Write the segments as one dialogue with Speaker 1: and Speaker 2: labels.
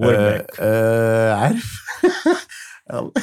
Speaker 1: آه آه عارف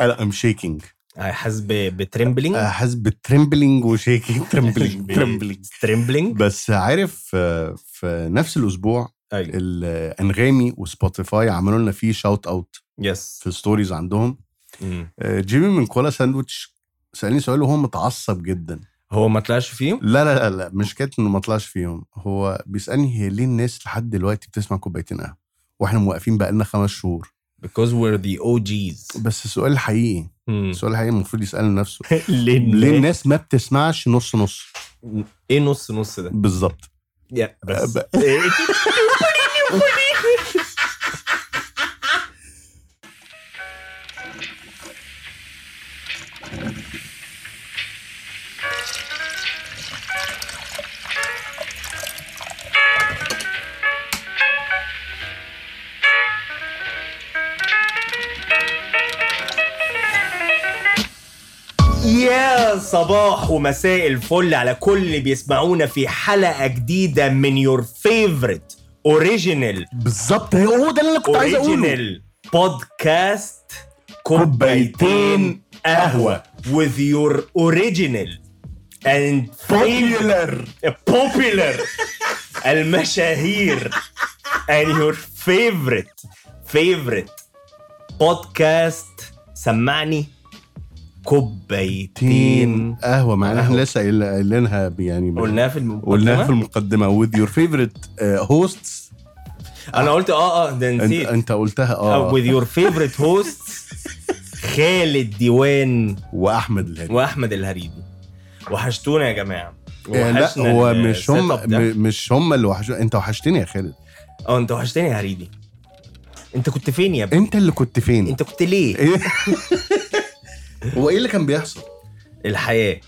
Speaker 1: لا ام شيكينج
Speaker 2: حاسس ب- بترمبلينج
Speaker 1: آه، حاسس بالترمبلينج وشيكينج ترمبلينج ترمبلينج
Speaker 2: ترمبلينج
Speaker 1: بس عارف آه، في نفس الاسبوع
Speaker 2: ايوه
Speaker 1: الانغامي وسبوتيفاي عملوا لنا فيه شاوت اوت
Speaker 2: يس
Speaker 1: في ستوريز عندهم
Speaker 2: مم.
Speaker 1: آه، جيمي من كولا ساندويتش سالني سؤال وهو متعصب جدا
Speaker 2: هو ما طلعش فيه
Speaker 1: لا لا لا, لا مش كانت انه ما طلعش فيهم هو بيسالني هي ليه الناس لحد دلوقتي بتسمع كوبايتين قهوه واحنا موقفين بقالنا خمس شهور
Speaker 2: because we're the OGs
Speaker 1: بس السؤال الحقيقي
Speaker 2: مم.
Speaker 1: السؤال الحقيقي المفروض يساله نفسه
Speaker 2: ليه
Speaker 1: ليه الناس ما بتسمعش نص نص
Speaker 2: ايه نص نص ده
Speaker 1: بالظبط
Speaker 2: يا بس إيه؟
Speaker 1: أب-
Speaker 2: يا صباح ومساء الفل على كل اللي بيسمعونا في حلقة جديدة من يور فيفورت اوريجينال
Speaker 1: بالظبط هو ده اللي انا كنت عايز اقوله
Speaker 2: اوريجينال بودكاست
Speaker 1: كوبايتين
Speaker 2: كوبايتين قهوة
Speaker 1: قهوة.
Speaker 2: with your original and favorite
Speaker 1: بوبيولر
Speaker 2: popular المشاهير and your favorite favorite بودكاست سمعني
Speaker 1: تين
Speaker 2: كوبايتين
Speaker 1: قهوه معانا احنا
Speaker 2: قهوة.
Speaker 1: لسه قايل- قايلينها يعني ب-
Speaker 2: قلناها في المقدمة
Speaker 1: قلناها في المقدمه with your favorite uh, هوستس
Speaker 2: انا قلت اه اه ده نسيت
Speaker 1: انت قلتها
Speaker 2: آه،
Speaker 1: اه
Speaker 2: with your favorite host خالد ديوان
Speaker 1: واحمد الهادي
Speaker 2: واحمد الهريدي وحشتونا يا جماعه
Speaker 1: آه، لا
Speaker 2: وحشنا
Speaker 1: هو
Speaker 2: ال-
Speaker 1: مش هم
Speaker 2: setup ده.
Speaker 1: م- مش هم اللي وحشوا انت وحشتني يا خالد
Speaker 2: اه انت وحشتني يا هريدي انت كنت فين يا ابني
Speaker 1: انت اللي كنت فين
Speaker 2: انت كنت ليه
Speaker 1: إيه؟ هو ايه اللي كان بيحصل
Speaker 2: الحياه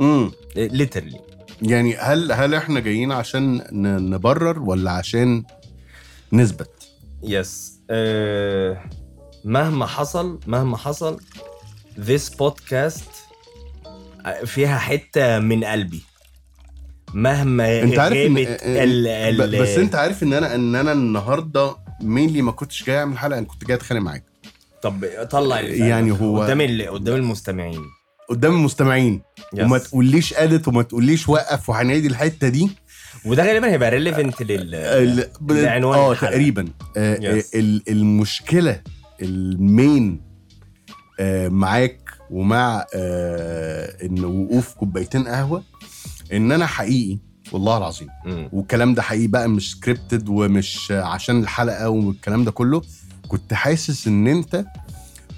Speaker 1: امم
Speaker 2: ليترلي
Speaker 1: يعني هل هل احنا جايين عشان ن- نبرر ولا عشان نثبت
Speaker 2: يس آه، مهما حصل مهما حصل this podcast أه، فيها حته من قلبي مهما
Speaker 1: انت عارف ان-
Speaker 2: غابت
Speaker 1: آه،
Speaker 2: ال-
Speaker 1: ب-
Speaker 2: ال-
Speaker 1: بس انت عارف ان انا ان انا النهارده مينلي ما كنتش جاي اعمل حلقه انا كنت جاي اتخانق معاك
Speaker 2: طب طلع اللي في
Speaker 1: يعني
Speaker 2: قلبك.
Speaker 1: هو-
Speaker 2: قدام ال- قدام المستمعين
Speaker 1: قدام المستمعين
Speaker 2: يس.
Speaker 1: وما تقوليش قالت وما تقوليش وقف وهنعيد الحته دي
Speaker 2: وده غالبا هيبقى ريليفنت لل
Speaker 1: ال- ب-
Speaker 2: العنوان
Speaker 1: اه
Speaker 2: الحلقة.
Speaker 1: تقريبا آه، آه،
Speaker 2: Yes.
Speaker 1: ال- المشكله المين آه، معاك ومع آه، ان وقوف كوبايتين قهوه ان انا حقيقي والله العظيم
Speaker 2: مم.
Speaker 1: والكلام ده حقيقي بقى مش سكريبتد ومش عشان الحلقه والكلام ده كله كنت حاسس ان انت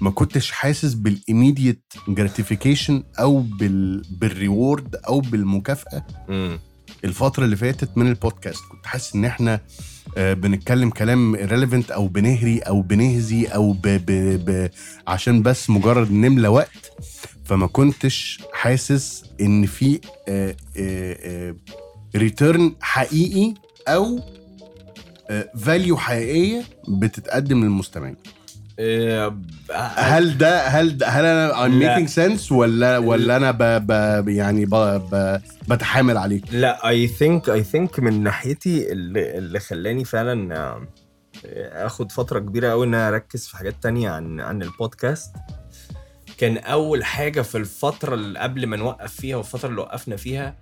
Speaker 1: ما كنتش حاسس بالإيميديت جراتيفيكيشن او بال... بالريورد او بالمكافاه
Speaker 2: مم.
Speaker 1: الفتره اللي فاتت من البودكاست كنت حاسس ان احنا آه، بنتكلم كلام ريليفنت او بنهري او بنهزي او ب... ب... ب... عشان بس مجرد نملى وقت فما كنتش حاسس ان في آه، ريتيرن حقيقي او فاليو حقيقيه بتتقدم للمستمعين
Speaker 2: آه،
Speaker 1: هل ده هل ده هل انا I'm
Speaker 2: لا.
Speaker 1: making sense ولا ولا انا ب ب يعني ب ب بتحامل عليك
Speaker 2: لا اي ثينك اي ثينك من ناحيتي اللي, اللي خلاني فعلا آه، اخد فتره كبيره قوي ان انا اركز في حاجات تانية عن عن البودكاست كان اول حاجه في الفتره اللي قبل ما نوقف فيها والفتره اللي وقفنا فيها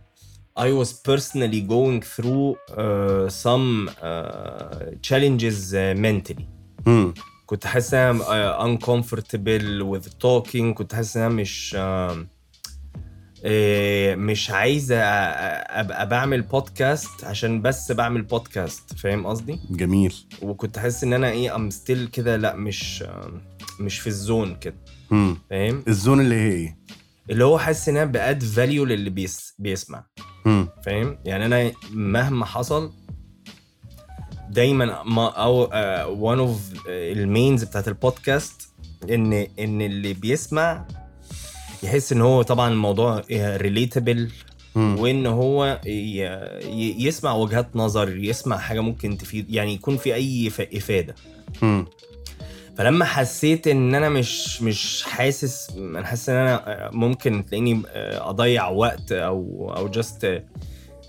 Speaker 2: I was personally going through uh, some uh, challenges uh, mentally
Speaker 1: مم.
Speaker 2: كنت حاسس ان انا آه، uncomfortable with talking كنت حاسس ان انا مش آم، آه، مش عايز أ- أ- ابقى بعمل بودكاست عشان بس بعمل بودكاست فاهم قصدي
Speaker 1: جميل
Speaker 2: وكنت حاسس ان انا ايه ام ستيل كده لا مش آم، مش في الزون كده
Speaker 1: مم.
Speaker 2: فاهم
Speaker 1: الزون اللي هي ايه؟
Speaker 2: اللي هو حاسس ان انا باد فاليو للي بيس بيسمع
Speaker 1: مم.
Speaker 2: فاهم يعني انا مهما حصل دايما ما آه، او وان اوف المينز بتاعت البودكاست ان ان اللي بيسمع يحس ان هو طبعا الموضوع ريليتابل
Speaker 1: مم.
Speaker 2: وان هو ي- ي- يسمع وجهات نظر يسمع حاجه ممكن تفيد يعني يكون في اي ف- افاده
Speaker 1: مم.
Speaker 2: فلما حسيت ان انا مش مش حاسس آه، انا حاسس ان انا ممكن تلاقيني اضيع وقت او او جاست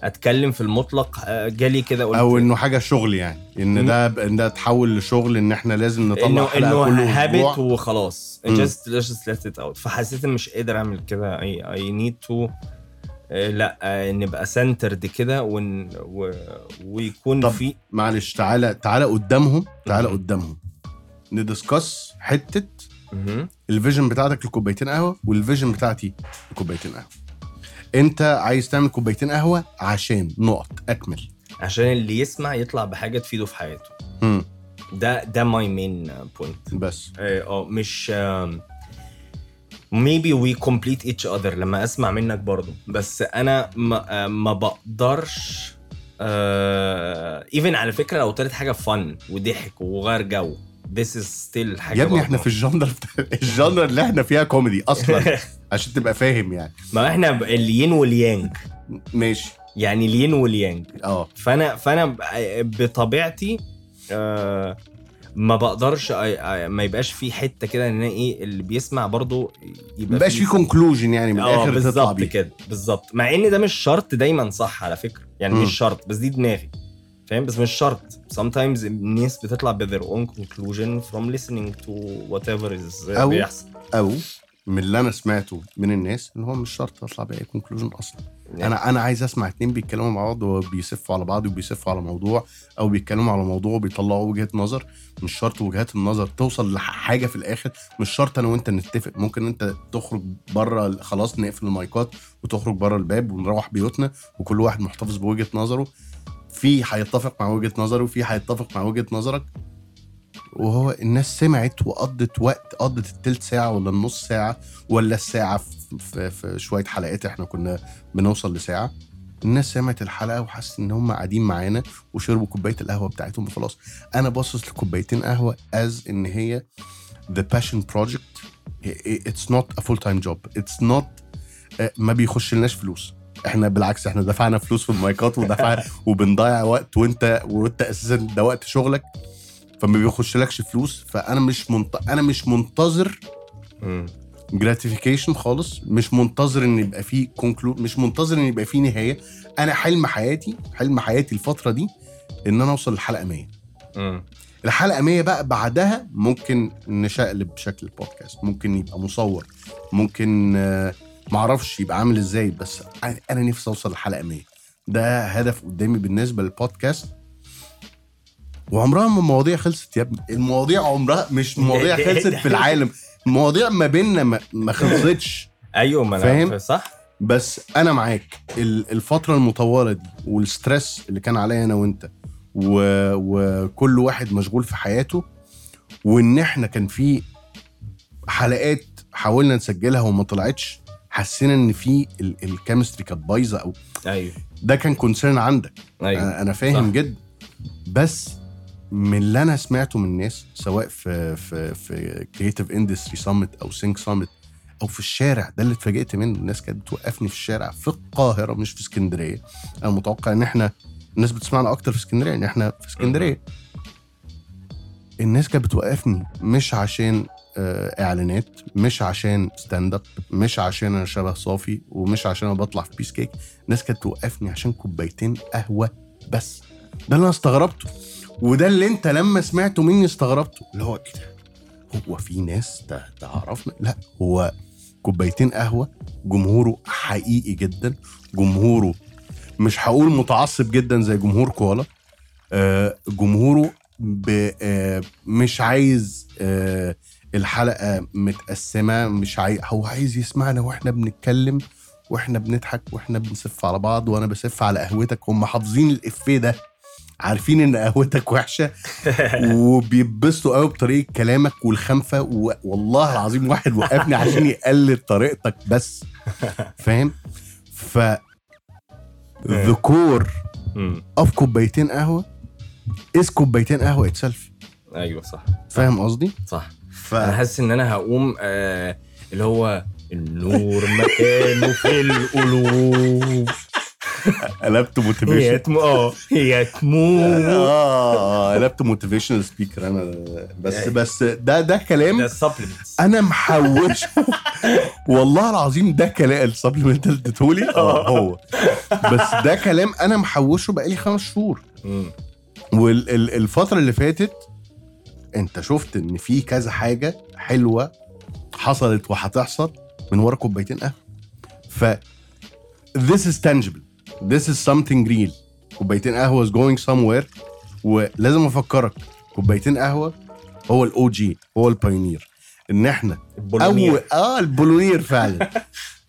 Speaker 2: اتكلم في المطلق آه، جالي كده قلت
Speaker 1: او انه حاجه شغل يعني ان
Speaker 2: مم.
Speaker 1: ده ان ده اتحول لشغل ان احنا لازم نطلع
Speaker 2: انه
Speaker 1: حلقه
Speaker 2: انه
Speaker 1: كل
Speaker 2: هابت
Speaker 1: اسبوع
Speaker 2: وخلاص
Speaker 1: مم.
Speaker 2: just just let it out فحسيت إن مش قادر اعمل كده اي اي نيد تو لا آه، نبقى سنترد كده ون و... ويكون
Speaker 1: طب.
Speaker 2: في
Speaker 1: معلش تعالى تعالى قدامهم تعالى
Speaker 2: مم.
Speaker 1: قدامهم ندسكس حته
Speaker 2: مهم.
Speaker 1: الفيجن بتاعتك لكوبايتين قهوه والفيجن بتاعتي لكوبايتين قهوه انت عايز تعمل كوبايتين قهوه عشان نقط اكمل
Speaker 2: عشان اللي يسمع يطلع بحاجه تفيده في حياته
Speaker 1: مم.
Speaker 2: ده ده ماي مين بوينت
Speaker 1: بس
Speaker 2: اه مش آم، maybe we complete each other لما اسمع منك برضو بس انا ما, آه، ما بقدرش ايفن على فكره لو طلعت حاجه فن وضحك وغير جو this is still حاجه
Speaker 1: يا ابني
Speaker 2: برضو.
Speaker 1: احنا في الجندر الجندر اللي احنا فيها كوميدي اصلا عشان تبقى فاهم يعني
Speaker 2: ما احنا ب- الين واليانج
Speaker 1: ماشي
Speaker 2: يعني الين واليانج
Speaker 1: اه
Speaker 2: فانا فانا ب- بطبيعتي آه، ما بقدرش أ- أ- ما يبقاش في حته كده ان أنا ايه اللي بيسمع برضو يبقى
Speaker 1: مبقاش في كونكلوجن يعني من
Speaker 2: اه
Speaker 1: الاخر تطلع
Speaker 2: بالظبط
Speaker 1: بيه
Speaker 2: كده بالظبط مع ان ده مش شرط دايما صح على فكره يعني
Speaker 1: مم.
Speaker 2: مش شرط بس دي دماغي فاهم بس مش شرط sometimes الناس بتطلع ب their own conclusion from listening to whatever is آه،
Speaker 1: أو-
Speaker 2: بيحصل
Speaker 1: او من اللي انا سمعته من الناس ان هو مش شرط اطلع باي كونكلوجن اصلا
Speaker 2: يعني
Speaker 1: انا انا عايز اسمع اتنين بيتكلموا مع بعض وبيسفوا على بعض وبيسفوا على موضوع او بيتكلموا على موضوع وبيطلعوا وجهه نظر مش شرط وجهات النظر توصل لحاجه في الاخر مش شرط انا وانت نتفق ممكن انت تخرج بره خلاص نقفل المايكات وتخرج بره الباب ونروح بيوتنا وكل واحد محتفظ بوجهه نظره في هيتفق مع وجهه نظره وفي هيتفق مع وجهه نظرك وهو الناس سمعت وقضت وقت قضت التلت ساعه ولا النص ساعه ولا الساعه في, في, في شويه حلقات احنا كنا بنوصل لساعه الناس سمعت الحلقه وحست ان هم قاعدين معانا وشربوا كوبايه القهوه بتاعتهم وخلاص انا باصص لكوبايتين قهوه از ان هي ذا باشن بروجكت اتس نوت ا فول تايم جوب اتس نوت آه، ما بيخش لناش فلوس احنا بالعكس احنا دفعنا فلوس في المايكات ودفعنا وبنضيع وقت وانت وانت اساسا ده وقت شغلك فما بيخشلكش فلوس فانا مش منت... انا مش منتظر
Speaker 2: مم.
Speaker 1: جراتيفيكيشن خالص مش منتظر ان يبقى فيه كونكلود مش منتظر ان يبقى فيه نهايه انا حلم حياتي حلم حياتي الفتره دي ان انا اوصل للحلقه 100
Speaker 2: مم.
Speaker 1: الحلقه 100 بقى بعدها ممكن نشقلب شكل البودكاست ممكن يبقى مصور ممكن آه، معرفش يبقى عامل ازاي بس أنا- انا نفسي اوصل للحلقه 100 ده هدف قدامي بالنسبه للبودكاست وعمرها ما المواضيع خلصت يا ابني المواضيع عمرها مش مواضيع
Speaker 2: ده- ده-
Speaker 1: خلصت
Speaker 2: ده-
Speaker 1: في العالم المواضيع ما بيننا ما- ما خلصتش
Speaker 2: ايوه ما
Speaker 1: فاهم؟
Speaker 2: انا صح
Speaker 1: بس انا معاك ال- الفتره المطوله دي والستريس اللي كان عليا انا وانت و... وكل واحد مشغول في حياته وان احنا كان في حلقات حاولنا نسجلها وما طلعتش حسينا ان في ال- الكيمستري كانت بايظه او
Speaker 2: ايوه
Speaker 1: ده كان كونسيرن عندك
Speaker 2: ايوه
Speaker 1: آه، أنا- انا فاهم
Speaker 2: صح.
Speaker 1: جدا بس من اللي انا سمعته من الناس سواء في في في كريتيف اندستري سامت او سينك سامت او في الشارع ده اللي اتفاجئت منه الناس كانت بتوقفني في الشارع في القاهره مش في اسكندريه انا متوقع ان احنا الناس بتسمعنا اكتر في اسكندريه لان احنا في اسكندريه الناس كانت بتوقفني مش عشان آه، اعلانات مش عشان ستاند اب مش عشان انا شبه صافي ومش عشان انا بطلع في بيس كيك الناس كانت توقفني عشان كوبايتين قهوه بس ده اللي انا استغربته وده اللي انت لما سمعته مني استغربته اللي هو ايه ده هو في ناس ت- تعرفنا لا هو كوبايتين قهوه جمهوره حقيقي جدا جمهوره مش هقول متعصب جدا زي جمهور كوالا آه، جمهوره ب- آه، مش عايز آه، الحلقه متقسمه مش عايز هو عايز يسمعنا واحنا بنتكلم واحنا بنضحك واحنا بنسف على بعض وانا بسف على قهوتك هم حافظين الافيه ده عارفين ان قهوتك وحشه وبيتبسطوا قوي بطريقه كلامك والخنفه و... والله العظيم واحد وقفني عشان يقلد طريقتك بس فاهم ف ذا كور
Speaker 2: مم.
Speaker 1: اوف كوبايتين قهوه از كوبايتين قهوه اتسلف
Speaker 2: ايوه صح
Speaker 1: فاهم قصدي
Speaker 2: صح
Speaker 1: ف
Speaker 2: انا حاسس ان انا هقوم آه اللي هو النور مكانه في القلوب
Speaker 1: قلبت
Speaker 2: هي آه.
Speaker 1: موتيفيشن
Speaker 2: تمو اه هي تموت
Speaker 1: اه قلبت موتيفيشنال سبيكر انا بس بس ده ده كلام
Speaker 2: يعني ده السبلمنتس
Speaker 1: انا محوشه والله العظيم ده كلام السبلمنت اللي اديتهولي اه هو بس ده كلام انا محوشه بقالي خمس شهور
Speaker 2: مم.
Speaker 1: والفتره اللي فاتت انت شفت ان في كذا حاجه حلوه حصلت وهتحصل من ورا كوبايتين قهوه ف this is tangible this is something real كوبايتين قهوه is going somewhere ولازم افكرك كوبايتين قهوه هو الاو جي هو البايونير ان احنا
Speaker 2: البولونير.
Speaker 1: اول اه البولونير فعلا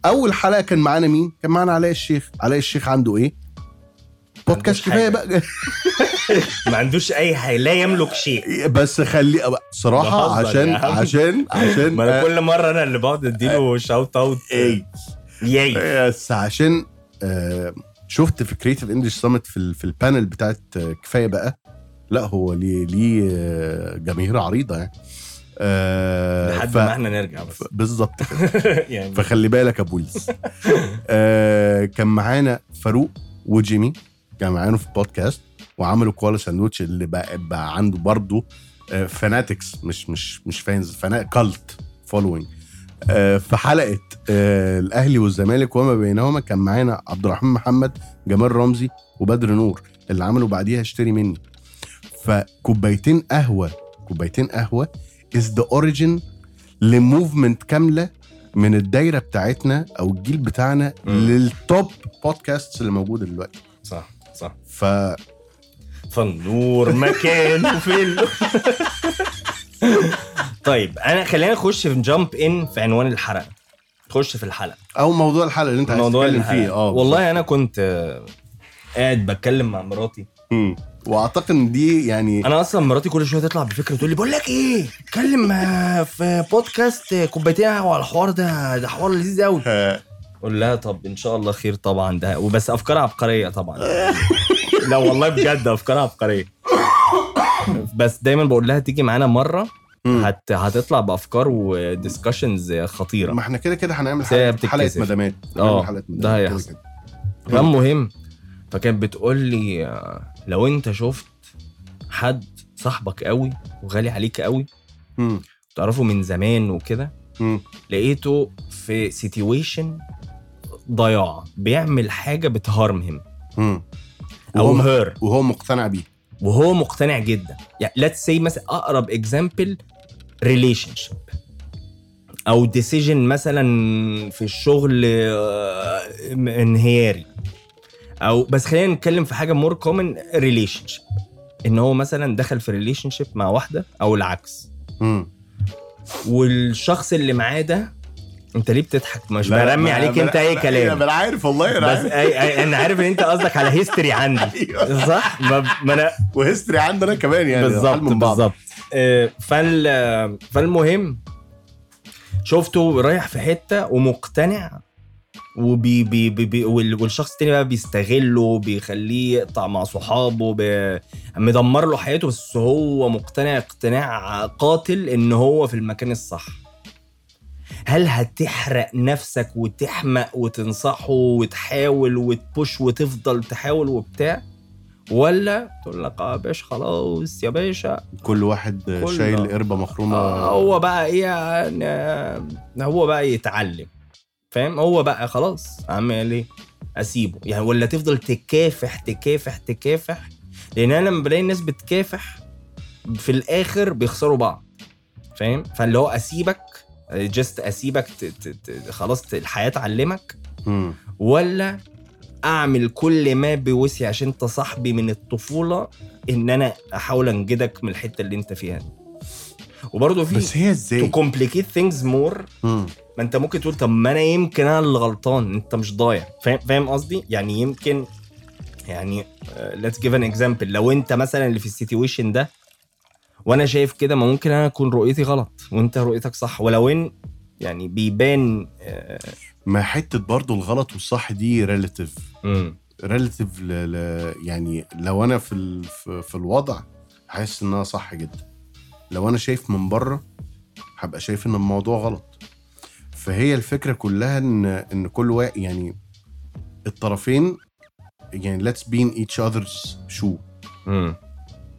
Speaker 1: اول حلقه كان معانا مين؟ كان معانا علاء الشيخ، علاء الشيخ عنده ايه؟
Speaker 2: عندوش
Speaker 1: بودكاست كفايه بقى
Speaker 2: ما عندوش اي حاجه لا يملك شيء
Speaker 1: بس خلي صراحه
Speaker 2: بهزر
Speaker 1: عشان
Speaker 2: يا عم.
Speaker 1: عشان عشان
Speaker 2: ما انا كل مره انا اللي بقعد اديله شاوت اوت
Speaker 1: ايه
Speaker 2: ياي
Speaker 1: إيه، بس عشان آه، شفت في كريتيف انجلش سامت في ال- في البانل بتاعت آه، كفايه بقى لا هو ليه ليه آه، جماهير عريضه يعني آه،
Speaker 2: لحد
Speaker 1: ف-
Speaker 2: ما احنا نرجع بس
Speaker 1: بالظبط كده
Speaker 2: يعني
Speaker 1: فخلي بالك يا بولز آه كان معانا فاروق وجيمي كان معانا في بودكاست وعملوا كوالا ساندوتش اللي بقى, بقى عنده برضه آه فاناتكس مش مش مش فانز فانا كالت فولوينج آه في حلقه آه الاهلي والزمالك وما بينهما كان معانا عبد الرحمن محمد جمال رمزي وبدر نور اللي عملوا بعديها اشتري مني فكوبايتين قهوه كوبايتين قهوه از ذا اوريجن لموفمنت كامله من الدايره بتاعتنا او الجيل بتاعنا
Speaker 2: مم.
Speaker 1: للتوب بودكاستس اللي موجوده دلوقتي
Speaker 2: صح صح
Speaker 1: ف
Speaker 2: فالنور مكانه في ال- طيب انا خلينا نخش في جامب ان في عنوان الحلقه نخش في الحلقه
Speaker 1: او موضوع الحلقه اللي انت عايز
Speaker 2: موضوع
Speaker 1: تتكلم
Speaker 2: الحلقه
Speaker 1: فيه اه
Speaker 2: والله انا كنت آه، قاعد بتكلم مع مراتي
Speaker 1: مم. واعتقد ان دي يعني
Speaker 2: انا اصلا مراتي كل شويه تطلع بفكره تقول لي بقول لك ايه اتكلم آه، في بودكاست آه، كوبايتين قهوه على الحوار ده ده حوار لذيذ قوي
Speaker 1: آه،
Speaker 2: قول لها طب ان شاء الله خير طبعا ده وبس افكار عبقريه طبعا لا والله بجد افكار عبقريه بس دايما بقول لها تيجي معانا مره
Speaker 1: مم.
Speaker 2: هت... هتطلع بافكار وديسكشنز خطيره
Speaker 1: ما احنا كده كده هنعمل
Speaker 2: بس هي
Speaker 1: حلقه
Speaker 2: بتتكسف.
Speaker 1: حلقه مدامات
Speaker 2: آه،
Speaker 1: هنعمل حلقة
Speaker 2: ده
Speaker 1: مدامات كده
Speaker 2: هيحصل.
Speaker 1: كده.
Speaker 2: المهم فكانت بتقول لي آه، لو انت شفت حد صاحبك قوي وغالي عليك قوي
Speaker 1: مم.
Speaker 2: تعرفه من زمان وكده
Speaker 1: مم.
Speaker 2: لقيته في سيتويشن ضياع بيعمل حاجه بتهارم هيم
Speaker 1: مم.
Speaker 2: او
Speaker 1: وهو مق-
Speaker 2: هير
Speaker 1: وهو مقتنع بيه
Speaker 2: وهو مقتنع جدا يعني ليتس سي مثلا اقرب اكزامبل ريليشن شيب او ديسيجن مثلا في الشغل آه، انهياري او بس خلينا نتكلم في حاجه مور كومن ريليشن شيب ان هو مثلا دخل في ريليشن شيب مع واحده او العكس
Speaker 1: مم.
Speaker 2: والشخص اللي معاه ده انت ليه بتضحك مش
Speaker 1: لا، لا،
Speaker 2: برمي
Speaker 1: ما-
Speaker 2: عليك
Speaker 1: ما-
Speaker 2: انت اي
Speaker 1: لا،
Speaker 2: كلام
Speaker 1: انا عارف والله انا
Speaker 2: بس
Speaker 1: عارف
Speaker 2: أي أي انا عارف ان انت قصدك على هيستوري عندي
Speaker 1: أيوة.
Speaker 2: صح ما ما انا
Speaker 1: وهيستوري عندنا كمان يعني
Speaker 2: بالظبط
Speaker 1: حل من بعض.
Speaker 2: بالظبط آه، فال آه، فالمهم شفته رايح في حته ومقتنع وبي بي بي بي وال- والشخص التاني بقى بيستغله بيخليه يقطع مع صحابه بي- مدمر له حياته بس هو مقتنع اقتناع قاتل ان هو في المكان الصح هل هتحرق نفسك وتحمق وتنصحه وتحاول وتبوش وتفضل تحاول وبتاع ولا تقول لك اه يا باشا خلاص يا باشا
Speaker 1: كل واحد
Speaker 2: كل-
Speaker 1: شايل قربه مخرومه
Speaker 2: آه، هو بقى ايه يعني- هو بقى يتعلم فاهم هو بقى خلاص اعمل ايه اسيبه يعني ولا تفضل تكافح تكافح تكافح لان انا لما بلاقي الناس بتكافح في الاخر بيخسروا بعض فاهم فاللي هو اسيبك جست اسيبك ت- ت- ت- خلاص ت- الحياه تعلمك
Speaker 1: مم.
Speaker 2: ولا اعمل كل ما بوسعي عشان انت صاحبي من الطفوله ان انا احاول انجدك من الحته اللي انت فيها دي وبرضه في
Speaker 1: بس هي إيه؟ ازاي؟
Speaker 2: تو كومبليكيت ثينجز مور
Speaker 1: مم.
Speaker 2: ما انت ممكن تقول طب ما انا يمكن انا اللي غلطان انت مش ضايع فاهم فاهم قصدي يعني يمكن يعني ليتس جيف ان اكزامبل لو انت مثلا اللي في السيتويشن ده وانا شايف كده ما ممكن انا اكون رؤيتي غلط وانت رؤيتك صح ولو ان يعني بيبان آه،
Speaker 1: ما حته برضه الغلط والصح دي ريلاتيف
Speaker 2: مم،
Speaker 1: ريلاتيف ل... ل... يعني لو انا في ال... في- في الوضع حاسس انها صح جدا لو انا شايف من بره هبقى شايف ان الموضوع غلط فهي الفكره كلها ان ان كل واحد يعني الطرفين يعني let's be in each other's shoe
Speaker 2: مم،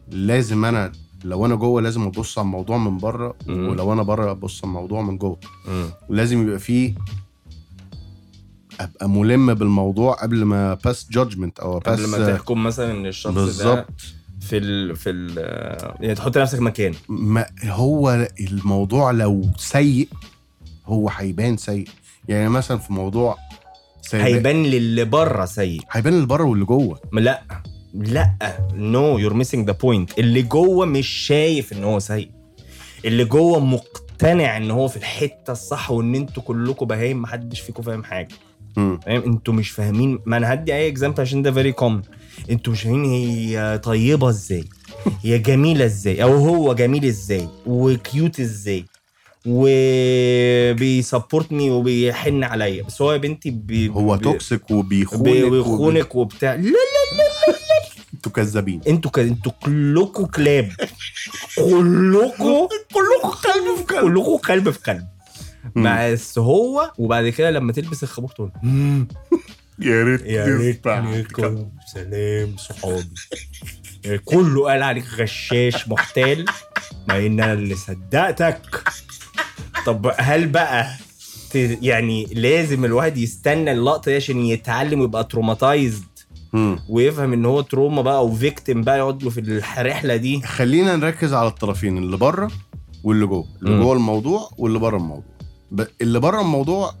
Speaker 1: لازم انا لو انا جوه لازم ابص على الموضوع من بره
Speaker 2: مم.
Speaker 1: ولو انا بره ابص على الموضوع من جوه
Speaker 2: مم.
Speaker 1: لازم يبقى فيه ابقى ملم بالموضوع قبل ما باس جادجمنت او باس
Speaker 2: قبل ما تحكم مثلا ان الشخص ده
Speaker 1: بالظبط
Speaker 2: في ال في ال يعني تحط نفسك مكانه
Speaker 1: ما هو الموضوع لو سيء هو هيبان سيء يعني مثلا في موضوع سيء
Speaker 2: هيبان للي بره سيء
Speaker 1: هيبان اللي بره واللي جوه
Speaker 2: لا لا نو يور ميسنج ذا بوينت اللي جوه مش شايف ان هو سيء اللي جوه مقتنع ان هو في الحته الصح وان انتوا كلكم بهايم محدش فيكم فاهم حاجه
Speaker 1: مم.
Speaker 2: فاهم انتوا مش فاهمين ما انا هدي اي اكزامبل عشان ده فيري كومن انتوا مش فاهمين هي طيبه ازاي هي جميله ازاي او هو جميل ازاي وكيوت ازاي وبيسبورت مي وبيحن عليا بس هو يا بنتي بي
Speaker 1: هو
Speaker 2: بي-
Speaker 1: توكسيك وبيخونك وبي-
Speaker 2: بيخونك وبتاع لا
Speaker 1: انتوا كذابين
Speaker 2: انتوا ك... انتوا كلكوا كلاب كلكوا كلكوا كلب في كلب كلكوا كلب في كلب
Speaker 1: مم.
Speaker 2: بس هو وبعد كده لما تلبس الخابور تقول "مم،
Speaker 1: يا ريت
Speaker 2: يا ريت يعني. ليكم سلام صحابي إيه، كله قال عليك غشاش محتال مع ان انا اللي صدقتك طب هل بقى ت- يعني لازم الواحد يستنى اللقطه دي عشان يتعلم ويبقى تروماتايزد ويفهم ان هو تروما بقى او فيكتيم بقى يقعد له في الرحله دي
Speaker 1: خلينا نركز على الطرفين اللي بره واللي جوه اللي
Speaker 2: مم.
Speaker 1: جوه الموضوع واللي بره الموضوع ب... اللي بره الموضوع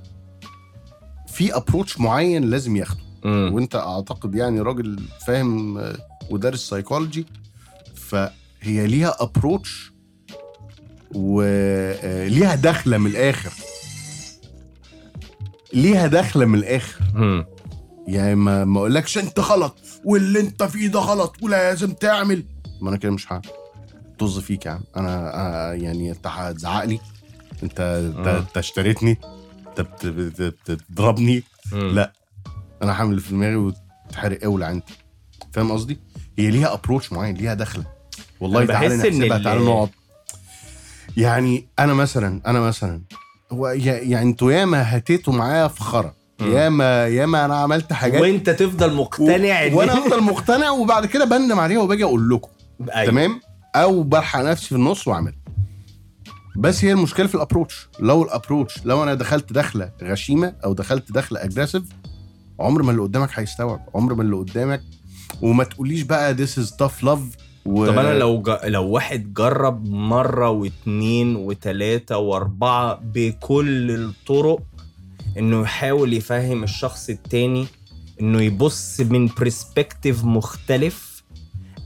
Speaker 1: في ابروتش معين لازم ياخده وانت اعتقد يعني راجل فاهم آه، ودارس سايكولوجي فهي ليها ابروتش وليها دخله آه، من الاخر ليها دخله من الاخر
Speaker 2: مم.
Speaker 1: يعني ما ما اقولكش انت غلط واللي انت فيه ده غلط ولازم تعمل ما انا كده مش هعمل طز فيك يا عم انا أنا- يعني انت هتزعق لي انت انت
Speaker 2: آه.
Speaker 1: انت اشتريتني انت بت- بت- بت- بتضربني
Speaker 2: مم.
Speaker 1: لا. انا هعمل اللي في دماغي وتحرق اولع انت فاهم قصدي؟ هي ليها ابروتش معين ليها دخله والله
Speaker 2: أنا
Speaker 1: تعالى
Speaker 2: بحس إن
Speaker 1: نحسبها
Speaker 2: ال-
Speaker 1: تعالى نقعد يعني انا مثلا انا مثلا هو يا- يعني انتوا ياما هتيتوا معايا في خرا
Speaker 2: مم.
Speaker 1: ياما ياما انا عملت حاجات
Speaker 2: وانت تفضل مقتنع
Speaker 1: و... وانا افضل مقتنع وبعد كده بندم عليها وباجي اقول لكم
Speaker 2: أيوة.
Speaker 1: تمام او بلحق نفسي في النص واعملها بس هي المشكله في الابروتش لو الابروتش لو انا دخلت دخله غشيمه او دخلت دخله اجريسيف عمر ما اللي قدامك هيستوعب عمر ما اللي قدامك وما تقوليش بقى ذيس از تاف لاف و...
Speaker 2: طب انا لو ج... لو واحد جرب مره واتنين وتلاته واربعه بكل الطرق انه يحاول يفهم الشخص التاني انه يبص من برسبكتيف مختلف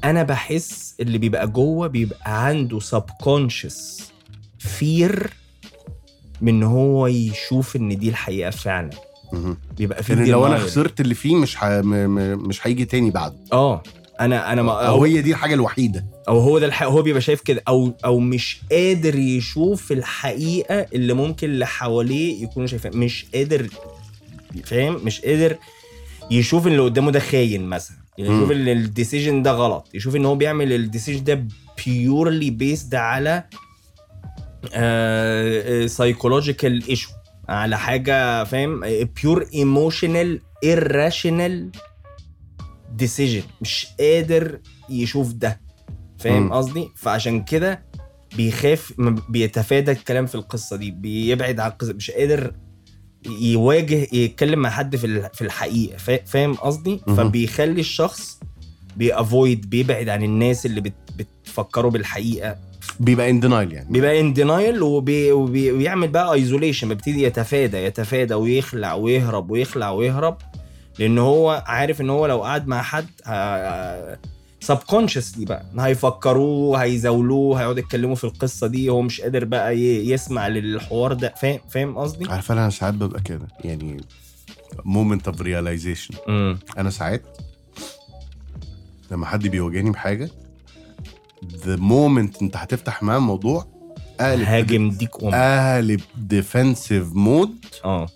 Speaker 2: انا بحس اللي بيبقى جوه بيبقى عنده سبكونشس فير من إن هو يشوف ان دي الحقيقه فعلا
Speaker 1: مهم.
Speaker 2: بيبقى في
Speaker 1: يعني لو انا
Speaker 2: denial.
Speaker 1: خسرت اللي فيه مش ح... م... م... مش هيجي تاني بعده
Speaker 2: اه انا انا ما
Speaker 1: او هي دي الحاجه الوحيده
Speaker 2: او هو ده الحق هو بيبقى شايف كده او او مش قادر يشوف الحقيقه اللي ممكن اللي حواليه يكونوا شايفينها مش قادر فاهم مش قادر يشوف اللي قدامه ده خاين مثلا يعني
Speaker 1: مم.
Speaker 2: يشوف ان الديسيجن ده غلط يشوف ان هو بيعمل الديسيجن ده بيورلي بيسد على آه، سايكولوجيكال ايشو على حاجه فاهم بيور ايموشنال irrational ديسيجن مش قادر يشوف ده فاهم
Speaker 1: مم.
Speaker 2: قصدي فعشان كده بيخاف ما بيتفادى الكلام في القصه دي بيبعد عن القصه مش قادر يواجه يتكلم مع حد في ال- في الحقيقه فا- فاهم قصدي
Speaker 1: مهم.
Speaker 2: فبيخلي الشخص بيأفويد بيبعد عن الناس اللي بت بتفكره بالحقيقه
Speaker 1: بيبقى ان دينايل يعني
Speaker 2: بيبقى ان دينايل وبي وبي- ويعمل بقى ايزوليشن بيبتدي يتفادى يتفادى ويخلع ويهرب ويخلع ويهرب لان هو عارف ان هو لو قعد مع حد سبكونشسلي بقى هيفكروه هيزاولوه هيقعدوا يتكلموا في القصه دي هو مش قادر بقى ي- يسمع للحوار ده فاهم فاهم قصدي؟
Speaker 1: عارف انا ساعات ببقى كده يعني مومنت اوف ريلايزيشن
Speaker 2: امم
Speaker 1: انا ساعات لما حد بيواجهني بحاجه the moment انت هتفتح معاه موضوع قالب
Speaker 2: هاجم ديك
Speaker 1: آه.
Speaker 2: ام
Speaker 1: قالب ديفنسيف مود
Speaker 2: اه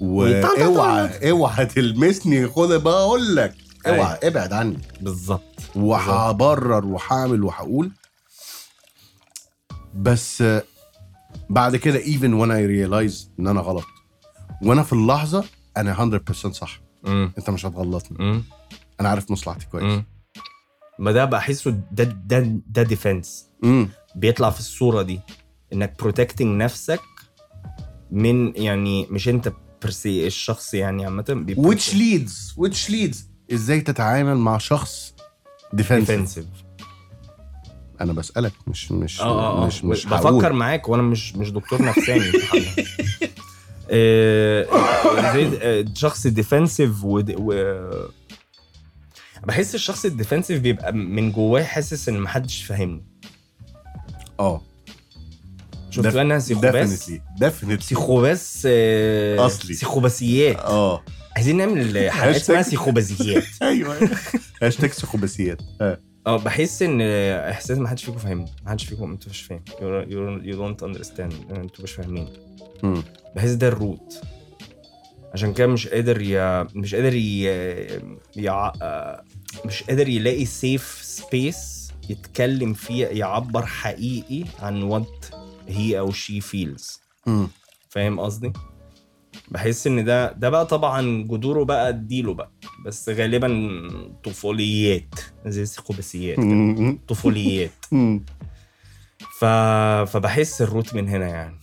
Speaker 2: ويطلع-
Speaker 1: واوعى اوعى تلمسني خد بقى اقول لك اوعى ابعد عني
Speaker 2: أيوة. بالظبط
Speaker 1: وهبرر وهعمل وهقول بس آه، بعد كده ايفن وانا ريلايز ان انا غلط وانا في اللحظه انا 100% صح
Speaker 2: امم
Speaker 1: انت مش هتغلطني
Speaker 2: امم
Speaker 1: انا عارف مصلحتي كويس
Speaker 2: امم ما ده بحسه ده ده ده ديفense
Speaker 1: امم
Speaker 2: بيطلع في الصوره دي انك بروتكتنج نفسك من يعني مش انت برسي الشخص يعني عامه بيبقى
Speaker 1: which leads which leads ازاي تتعامل مع شخص ديفنسيف
Speaker 2: ديفنسيف
Speaker 1: انا بسالك مش مش
Speaker 2: اه اه
Speaker 1: مش مش
Speaker 2: بفكر
Speaker 1: هقول.
Speaker 2: معاك وانا مش مش دكتور نفساني آه، زي- آه، شخص ديفنسيف و... و... بحس الشخص الديفنسيف بيبقى من جواه حاسس ان محدش فاهمني
Speaker 1: اه
Speaker 2: شفت بقى انا سيخوباس
Speaker 1: ديفنتلي ديفنتلي
Speaker 2: سيخوباس آه،
Speaker 1: أصلي.
Speaker 2: سيخوباسيات
Speaker 1: اه
Speaker 2: عايزين نعمل حلقات اسمها
Speaker 1: هاشتاج.
Speaker 2: سيخوباسيات
Speaker 1: ايوه هاشتاج سخوباسيات آه.
Speaker 2: اه بحس ان احساس ما حدش فيكم فاهمني ما حدش فيكم انتوا مش فاهم يو يو دونت اندرستاند انتوا مش فاهمين
Speaker 1: مم.
Speaker 2: بحس ده الروت عشان كده مش قادر يا مش قادر ي... يع... مش قادر يلاقي سيف سبيس يتكلم فيه يعبر حقيقي عن وات هي او شي فيلز
Speaker 1: مم.
Speaker 2: فاهم قصدي بحس ان ده ده بقى طبعا جذوره بقى اديله بقى بس غالبا طفوليات زي السيكوباسيات
Speaker 1: مم.
Speaker 2: طفوليات
Speaker 1: مم.
Speaker 2: ف... فبحس الروت من هنا يعني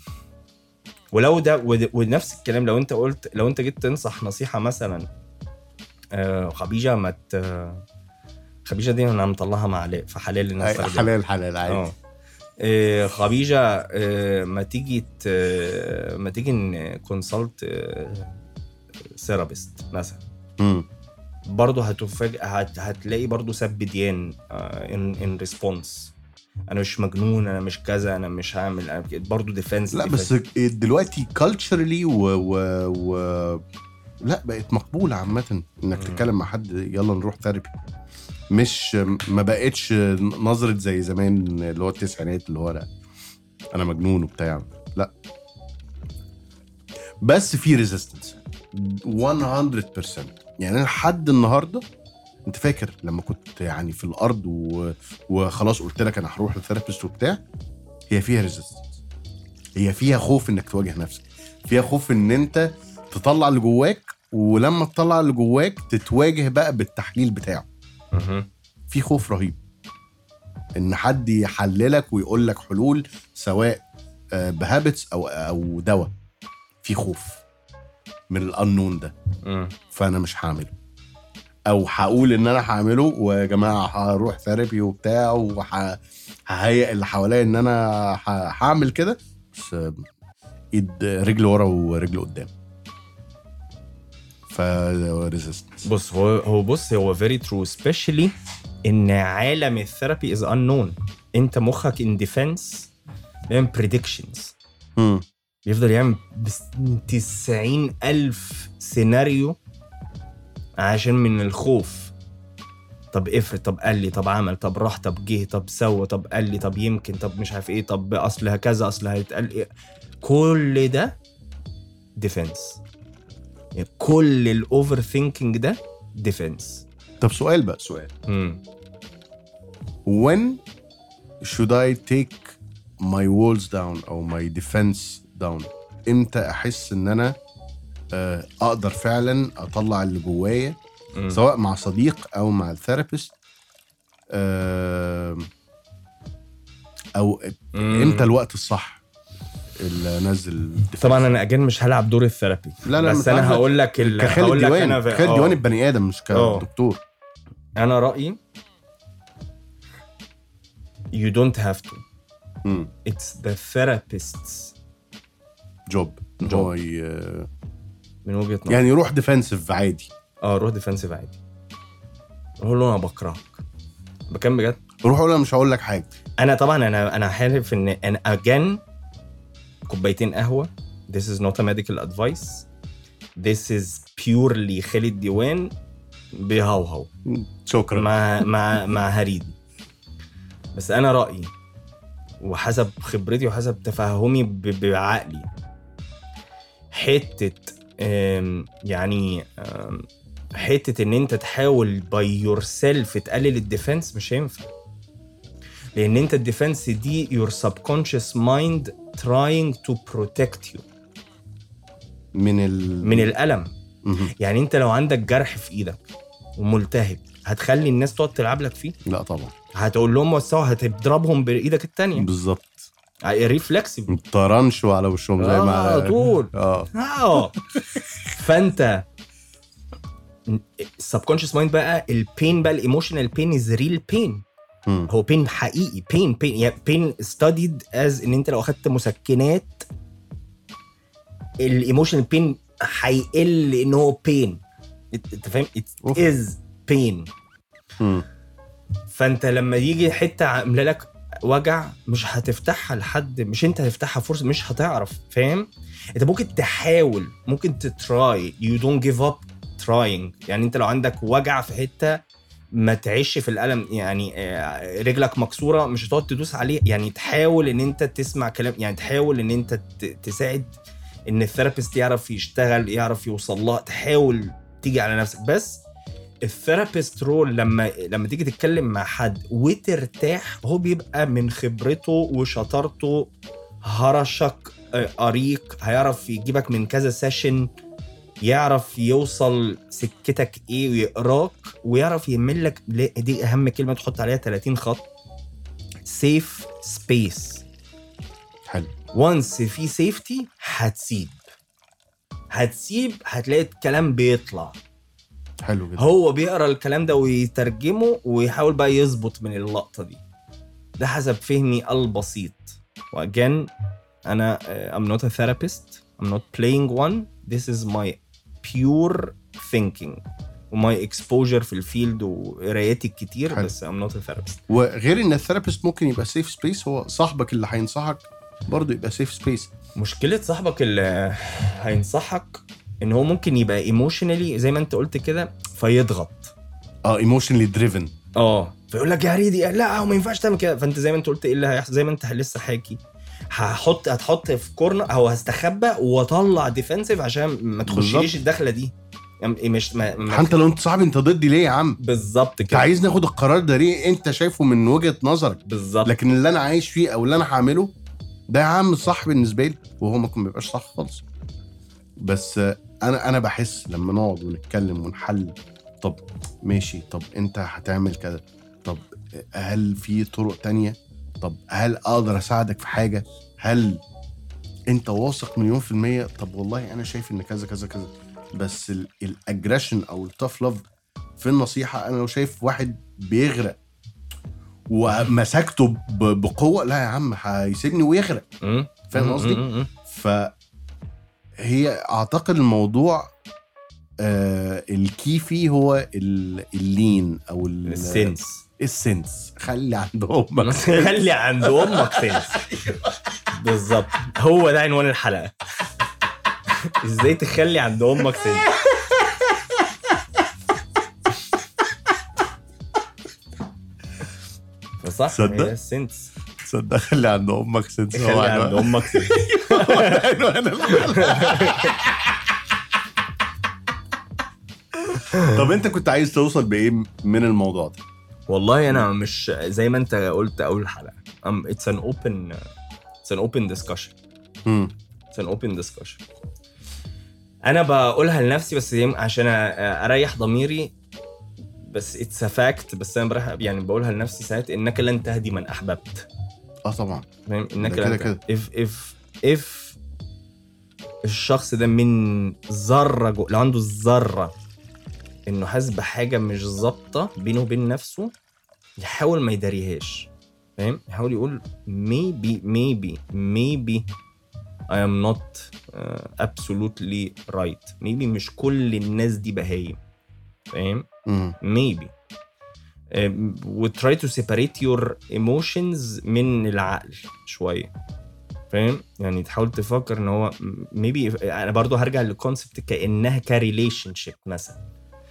Speaker 2: ولو ده ود- ونفس الكلام لو انت قلت لو انت جيت تنصح نصيحه مثلا آه خبيجه ما ت... خبيجه دي انا مطلعها معلق فحلال ان أنا
Speaker 1: أي-
Speaker 2: استخدمها.
Speaker 1: حلال حلال عادي
Speaker 2: اه آه، خبيجه آه ما تيجي ت... ما تيجي آه، نكونسلت ثيرابيست مثلا
Speaker 1: مم.
Speaker 2: برضه هتفاجئ هت... هتلاقي برضه سب ديان آه، ان ان ريسبونس انا مش مجنون انا مش كذا انا مش هعمل انا كده. برضه ديفنس
Speaker 1: لا بس دلوقتي كالتشرلي و, و, و لا بقت مقبوله عامه انك تتكلم مع حد يلا نروح ثيرابي مش ما بقتش نظره زي زمان اللي هو التسعينات اللي هو لا انا مجنون وبتاع لا بس في ريزيستنس 100% يعني انا لحد النهارده انت فاكر لما كنت يعني في الارض و... وخلاص قلت لك انا هروح للثيرابيست وبتاع هي فيها ريزيستنس هي فيها خوف انك تواجه نفسك فيها خوف ان انت تطلع اللي جواك ولما تطلع اللي جواك تتواجه بقى بالتحليل بتاعه في خوف رهيب ان حد يحللك ويقول لك حلول سواء آه، بهابتس او او دواء في خوف من الانون ده فانا مش هعمله او هقول ان انا هعمله ويا جماعه هروح ثيرابي وبتاع وههيئ اللي حواليا ان انا ه- هعمل كده بس آه، ايد رجل ورا ورجل قدام ف resistance.
Speaker 2: بص هو هو بص هو فيري ترو سبيشلي ان عالم الثيرابي از unknown انت مخك ان ديفنس بيعمل بريدكشنز
Speaker 1: مم.
Speaker 2: بيفضل يعمل بس- 90 ألف سيناريو عشان من الخوف طب افرض طب قال لي طب عمل طب راح طب جه طب سوى طب قال لي طب يمكن طب مش عارف ايه طب اصل هكذا اصل هيتقال ايه كل ده ديفنس يعني كل الاوفر ثينكينج ده ديفنس
Speaker 1: طب سؤال بقى سؤال when should I take my walls down او my defense down امتى احس ان انا آه، اقدر فعلا اطلع اللي جوايا سواء مع صديق او مع آه، الثيرابيست آم، او امتى الوقت الصح اللي انزل الدفاع؟
Speaker 2: طبعا انا اجين مش هلعب دور الثيرابي
Speaker 1: لا، لا،
Speaker 2: بس
Speaker 1: متعرف-
Speaker 2: انا هقول لك ال-
Speaker 1: كخالد
Speaker 2: هقول لك انا
Speaker 1: ديوان
Speaker 2: في-
Speaker 1: كخالد
Speaker 2: آه.
Speaker 1: ديوان البني ادم مش
Speaker 2: آه.
Speaker 1: كدكتور
Speaker 2: انا رايي you don't have to
Speaker 1: مم.
Speaker 2: it's the therapists
Speaker 1: جوب
Speaker 2: جوب.
Speaker 1: هو ي-
Speaker 2: من وجهه نظري
Speaker 1: يعني يروح ديفنسيف عادي
Speaker 2: اه روح ديفنسيف عادي قول له انا بكرهك بكام بجد
Speaker 1: روح قول انا مش هقول لك حاجه
Speaker 2: انا طبعا انا انا عارف ان انا again كوبايتين قهوه this is not a medical advice this is purely خالد ديوان بيهوهو
Speaker 1: شكرا
Speaker 2: مع مع مع هريدي بس انا رايي وحسب خبرتي وحسب تفهمي ب- بعقلي حته أم، يعني أم، حته ان انت تحاول باي يور سيلف تقلل الديفنس مش هينفع لان انت الديفنس دي يور subconscious مايند trying to protect you
Speaker 1: من ال
Speaker 2: من الالم
Speaker 1: مهم.
Speaker 2: يعني انت لو عندك جرح في ايدك وملتهب هتخلي الناس تقعد تلعب لك فيه
Speaker 1: لا طبعا
Speaker 2: هتقول لهم وسعوا هتضربهم بايدك التانية
Speaker 1: بالظبط
Speaker 2: ريفلكسبل
Speaker 1: طرنش وعلى وشهم زي ما
Speaker 2: آه، على طول
Speaker 1: اه
Speaker 2: اه فانت السبكونشس مايند بقى البين بقى الايموشنال بين از ريل بين
Speaker 1: مم.
Speaker 2: هو بين حقيقي بين بين يعني بين ستاديد از ان انت لو اخدت مسكنات الايموشنال بين هيقل لان هو بين انت فاهم؟
Speaker 1: أوف.
Speaker 2: It is pain
Speaker 1: مم.
Speaker 2: فانت لما يجي حته عامله لك وجع مش هتفتحها لحد مش انت هتفتحها فرصه مش هتعرف فاهم انت ممكن تحاول ممكن تتراي يو دونت جيف اب تراينج يعني انت لو عندك وجع في حته ما تعيش في الالم يعني آه، رجلك مكسوره مش هتقعد تدوس عليه يعني تحاول ان انت تسمع كلام يعني تحاول ان انت ت- تساعد ان الثيرابيست يعرف يشتغل يعرف يوصل لها تحاول تيجي على نفسك بس الثيرابيست رول لما لما تيجي تتكلم مع حد وترتاح هو بيبقى من خبرته وشطارته هرشك آه، أريق هيعرف يجيبك من كذا سيشن يعرف يوصل سكتك ايه ويقراك ويعرف يملك لك لا، دي اهم كلمه تحط عليها 30 خط سيف سبيس
Speaker 1: حلو
Speaker 2: وانس في سيفتي هتسيب هتسيب هتلاقي الكلام بيطلع
Speaker 1: حلو جدا
Speaker 2: هو بيقرا الكلام ده ويترجمه ويحاول بقى يظبط من اللقطه دي ده حسب فهمي البسيط واجين انا uh, I'm not a therapist I'm not playing one this is my pure thinking وماي اكسبوجر في الفيلد وقرايتي الكتير
Speaker 1: حلو.
Speaker 2: بس I'm not a therapist
Speaker 1: وغير ان الثيرابيست ممكن يبقى سيف سبيس هو صاحبك اللي هينصحك برضه يبقى سيف سبيس
Speaker 2: مشكله صاحبك اللي هينصحك ان هو ممكن يبقى ايموشنالي زي ما انت قلت كده فيضغط
Speaker 1: اه ايموشنلي دريفن
Speaker 2: اه
Speaker 1: آه.
Speaker 2: فيقول لك يا ريدي لا ما ينفعش تعمل كده فانت زي ما انت قلت ايه اللي هيحصل زي ما انت لسه حاكي هحط هتحط في كورنر او هستخبى واطلع ديفنسيف عشان ما
Speaker 1: بالظبط.
Speaker 2: تخشليش الدخله دي يعني مش ما, ما
Speaker 1: انت لو انت صاحبي انت ضدي ليه يا عم
Speaker 2: بالظبط
Speaker 1: انت
Speaker 2: كده
Speaker 1: عايز ناخد القرار ده ليه انت شايفه من وجهه نظرك
Speaker 2: بالظبط
Speaker 1: لكن اللي انا عايش فيه او اللي انا هعمله ده يا عم صح بالنسبه لي وهو ممكن ما يبقاش صح خالص بس آه، انا انا بحس لما نقعد ونتكلم ونحل طب ماشي طب انت هتعمل كذا طب هل في طرق تانية طب هل اقدر اساعدك في حاجه هل انت واثق مليون في المية طب والله انا شايف ان كذا كذا كذا بس الاجريشن او التاف لاف في النصيحه انا لو شايف واحد بيغرق ومسكته ب- بقوه لا يا عم هيسيبني ويغرق
Speaker 2: م-
Speaker 1: فاهم
Speaker 2: م-
Speaker 1: قصدي؟
Speaker 2: م- م-
Speaker 1: فهي اعتقد الموضوع آه الكي فيه هو ال- اللين او ال-
Speaker 2: السنس
Speaker 1: السنس خلي عندهم
Speaker 2: خلي عند امك سنس بالظبط هو ده عنوان الحلقه ازاي تخلي عند امك سنس صح
Speaker 1: تصدق؟
Speaker 2: سنس
Speaker 1: صدق خلي عند امك سنس هو
Speaker 2: خلي عند
Speaker 1: عنوان-
Speaker 2: امك سنس
Speaker 1: هو عنوان الحلقة. طب انت كنت عايز توصل بايه من الموضوع ده؟
Speaker 2: والله انا مش زي ما انت قلت Um, اول حلقه اتس ان اوبن اتس ان اوبن ديسكشن
Speaker 1: مم.
Speaker 2: اتس ان اوبن ديسكشن انا بقولها لنفسي بس يم- عشان أ- اريح ضميري بس اتس فاكت بس انا برح يعني بقولها لنفسي ساعات انك لن تهدي من احببت
Speaker 1: اه طبعا
Speaker 2: فاهم انك
Speaker 1: ده كده
Speaker 2: لن
Speaker 1: كده.
Speaker 2: اف اف اف الشخص ده من ذره جو... لو عنده الذره انه حاسس بحاجه مش ظابطه بينه وبين نفسه يحاول ما يداريهاش فاهم يحاول يقول maybe maybe maybe I am not uh, absolutely right maybe مش كل الناس دي بهايم فاهم
Speaker 1: مم.
Speaker 2: maybe Um, وتراي تو سيبريت يور ايموشنز من العقل شويه فاهم يعني تحاول تفكر ان هو ميبي انا برضو هرجع للكونسبت كانها كريليشن شيب مثلا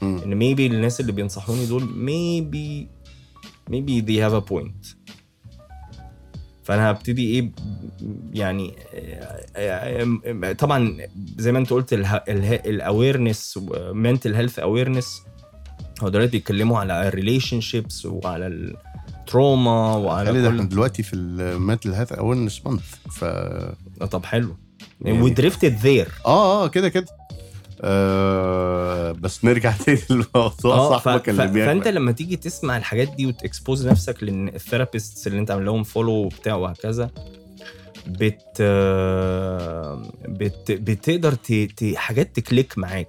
Speaker 1: مم.
Speaker 2: ان ميبي الناس اللي بينصحوني دول ميبي ميبي they have a point فانا هبتدي ايه ب- يعني آه، طبعا زي ما انت قلت الاويرنس منتل هيلث اويرنس هو دلوقتي بيتكلموا على الريليشن شيبس وعلى التروما وعلى
Speaker 1: خلي ده
Speaker 2: كل
Speaker 1: احنا دلوقتي في المنتل هيلث اويرنس مانث ف
Speaker 2: آه، طب حلو
Speaker 1: يعني-
Speaker 2: ودريفتد ذير
Speaker 1: اه اه كده كده آه بس نرجع تاني للموضوع
Speaker 2: اه ف...
Speaker 1: صاحبك
Speaker 2: ف...
Speaker 1: اللي بيعمل
Speaker 2: فانت لما تيجي تسمع الحاجات دي وتكسبوز نفسك للثيرابيست اللي انت عامل لهم فولو وبتاع وهكذا بت بت بتقدر ت... ت... حاجات تكليك معاك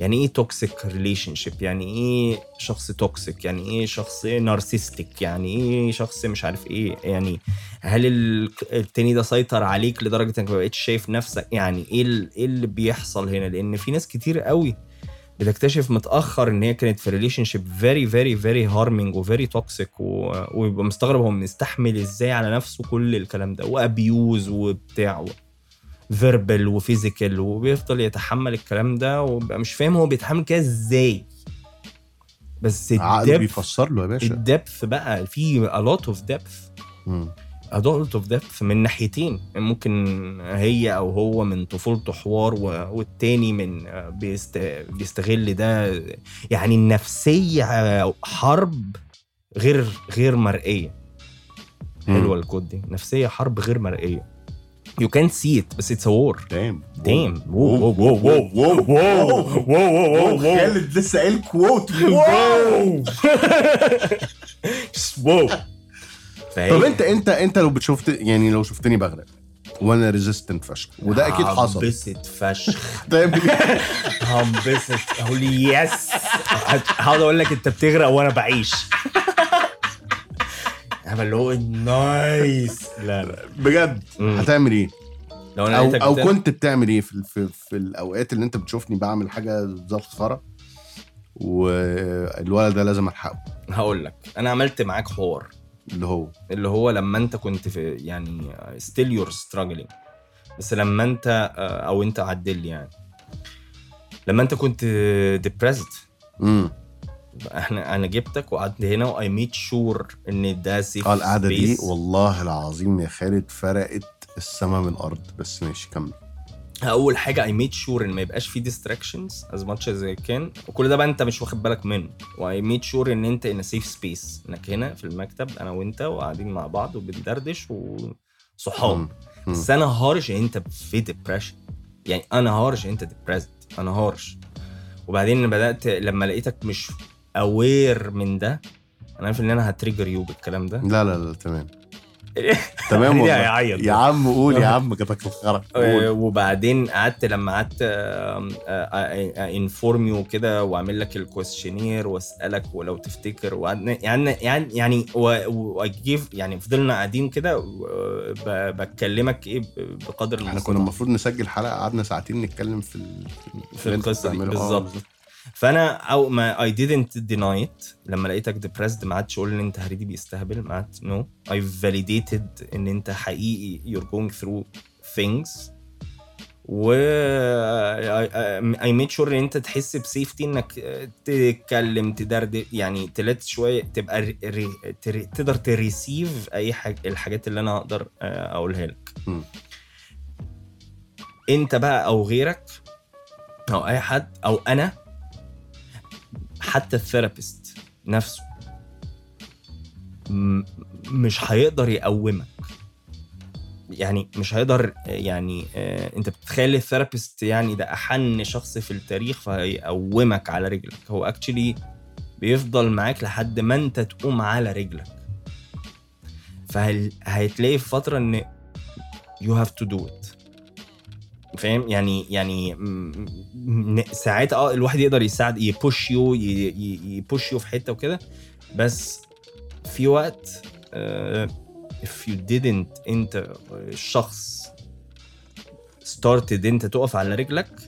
Speaker 2: يعني ايه توكسيك ريليشن شيب يعني ايه شخص توكسيك يعني ايه شخص نارسيستيك يعني ايه شخص مش عارف ايه يعني هل ال- التاني ده سيطر عليك لدرجه انك ما بقتش شايف نفسك يعني ايه ال- ايه اللي بيحصل هنا لان في ناس كتير قوي بتكتشف متاخر ان هي كانت في ريليشن شيب فيري فيري فيري هارمنج وفيري توكسيك ويبقى مستغرب هو مستحمل ازاي على نفسه كل الكلام ده وابيوز وبتاع و... فيربل وفيزيكال وبيفضل يتحمل الكلام ده وبيبقى مش فاهم هو بيتحمل كده ازاي بس
Speaker 1: عقله
Speaker 2: الدبث
Speaker 1: بيفسر له يا باشا
Speaker 2: الدبث بقى في a lot of depth
Speaker 1: مم.
Speaker 2: a lot of depth من ناحيتين ممكن هي او هو من طفولته حوار و- والتاني من آه، بيست بيستغل ده يعني النفسيه آه، حرب غير غير مرئيه
Speaker 1: مم.
Speaker 2: حلوه الكود دي نفسيه حرب غير مرئيه you can't see it بس it's a war
Speaker 1: دام
Speaker 2: دام
Speaker 1: واو واو واو واو واو واو واو واو خالد لسه قايل كوت واو
Speaker 2: واو
Speaker 1: طب انت انت انت لو بتشوفت يعني لو شفتني بغرق وانا ريزيستنت فشخ وده اكيد
Speaker 2: آه،
Speaker 1: حصل
Speaker 2: هنبسط فشخ
Speaker 1: طيب،
Speaker 2: هنبسط اقول يس هقعد اقول لك انت بتغرق وانا بعيش انا اللي هو نايس لا لا
Speaker 1: بجد
Speaker 2: مم.
Speaker 1: هتعمل ايه؟
Speaker 2: لو انا
Speaker 1: او
Speaker 2: لقيتك
Speaker 1: او
Speaker 2: بتغرق-
Speaker 1: كنت بتعمل ايه في في, في الاوقات اللي انت بتشوفني بعمل حاجه زفخره والولد ده لازم الحقه
Speaker 2: هقول لك انا عملت معاك حوار
Speaker 1: اللي هو
Speaker 2: اللي هو لما انت كنت في يعني ستيل يور ستراجلينج بس لما انت او انت عدل لي يعني لما انت كنت ديبريسد
Speaker 1: امم
Speaker 2: احنا انا جبتك وقعدت هنا واي ميد شور ان ده سيف
Speaker 1: اه القعده دي
Speaker 2: space.
Speaker 1: والله العظيم يا خالد فرقت السما من الارض بس ماشي كمل
Speaker 2: اول حاجه اي ميد شور ان ما يبقاش في ديستراكشنز از ماتش از كان وكل ده بقى انت مش واخد بالك منه واي ميد شور ان انت ان سيف سبيس انك هنا في المكتب انا وانت وقاعدين مع بعض وبندردش وصحاب
Speaker 1: مم. مم.
Speaker 2: بس انا هارش ان انت في ديبرشن يعني انا هارش ان انت ديبريسد انا هارش وبعدين بدات لما لقيتك مش اوير من ده انا عارف ان انا هتريجر يو بالكلام ده
Speaker 1: لا لا لا تمام تمام والله
Speaker 2: هيعيط.
Speaker 1: يا عم قول يا عم جابك الخرا
Speaker 2: آه،
Speaker 1: قول.
Speaker 2: وبعدين قعدت لما قعدت آه، انفورم يو آه، كده واعمل لك الكويستشنير واسالك ولو تفتكر وقعدنا يعني يعني يعني واجيب يعني فضلنا قاعدين كده و- آه، ب- بكلمك ايه ب- بقدر
Speaker 1: احنا
Speaker 2: المستطاع.
Speaker 1: كنا المفروض نسجل حلقه قعدنا ساعتين نتكلم في ال-
Speaker 2: في
Speaker 1: اللي انت
Speaker 2: القصه دي
Speaker 1: بتعمله. آه،
Speaker 2: بالظبط فانا او ما اي didnt deny it لما لقيتك depressed ما عادش اقول ان انت هريدي بيستهبل ما عادش نو اي validated ان انت حقيقي you're going through things و اي ميد شور ان انت تحس بسيفتي انك تتكلم تدرد يعني تلات شويه تبقى ر- ر- تر- تقدر تريسيف اي حاجه الحاجات اللي انا اقدر آه، اقولها لك
Speaker 1: مم.
Speaker 2: انت بقى او غيرك او اي حد او انا حتى الثيرابيست نفسه م- مش هيقدر يقومك يعني مش هيقدر يعني آه، انت بتتخيل الثيرابيست يعني ده احن شخص في التاريخ فهيقومك على رجلك هو اكشلي بيفضل معاك لحد ما انت تقوم على رجلك فهتلاقي في فتره ان يو هاف تو دو ات فاهم يعني يعني م- م- ساعات اه الواحد يقدر يساعد يبوش يو يبوش يو في حته وكده بس في وقت آه، if you didn't انت آه، الشخص started انت تقف على رجلك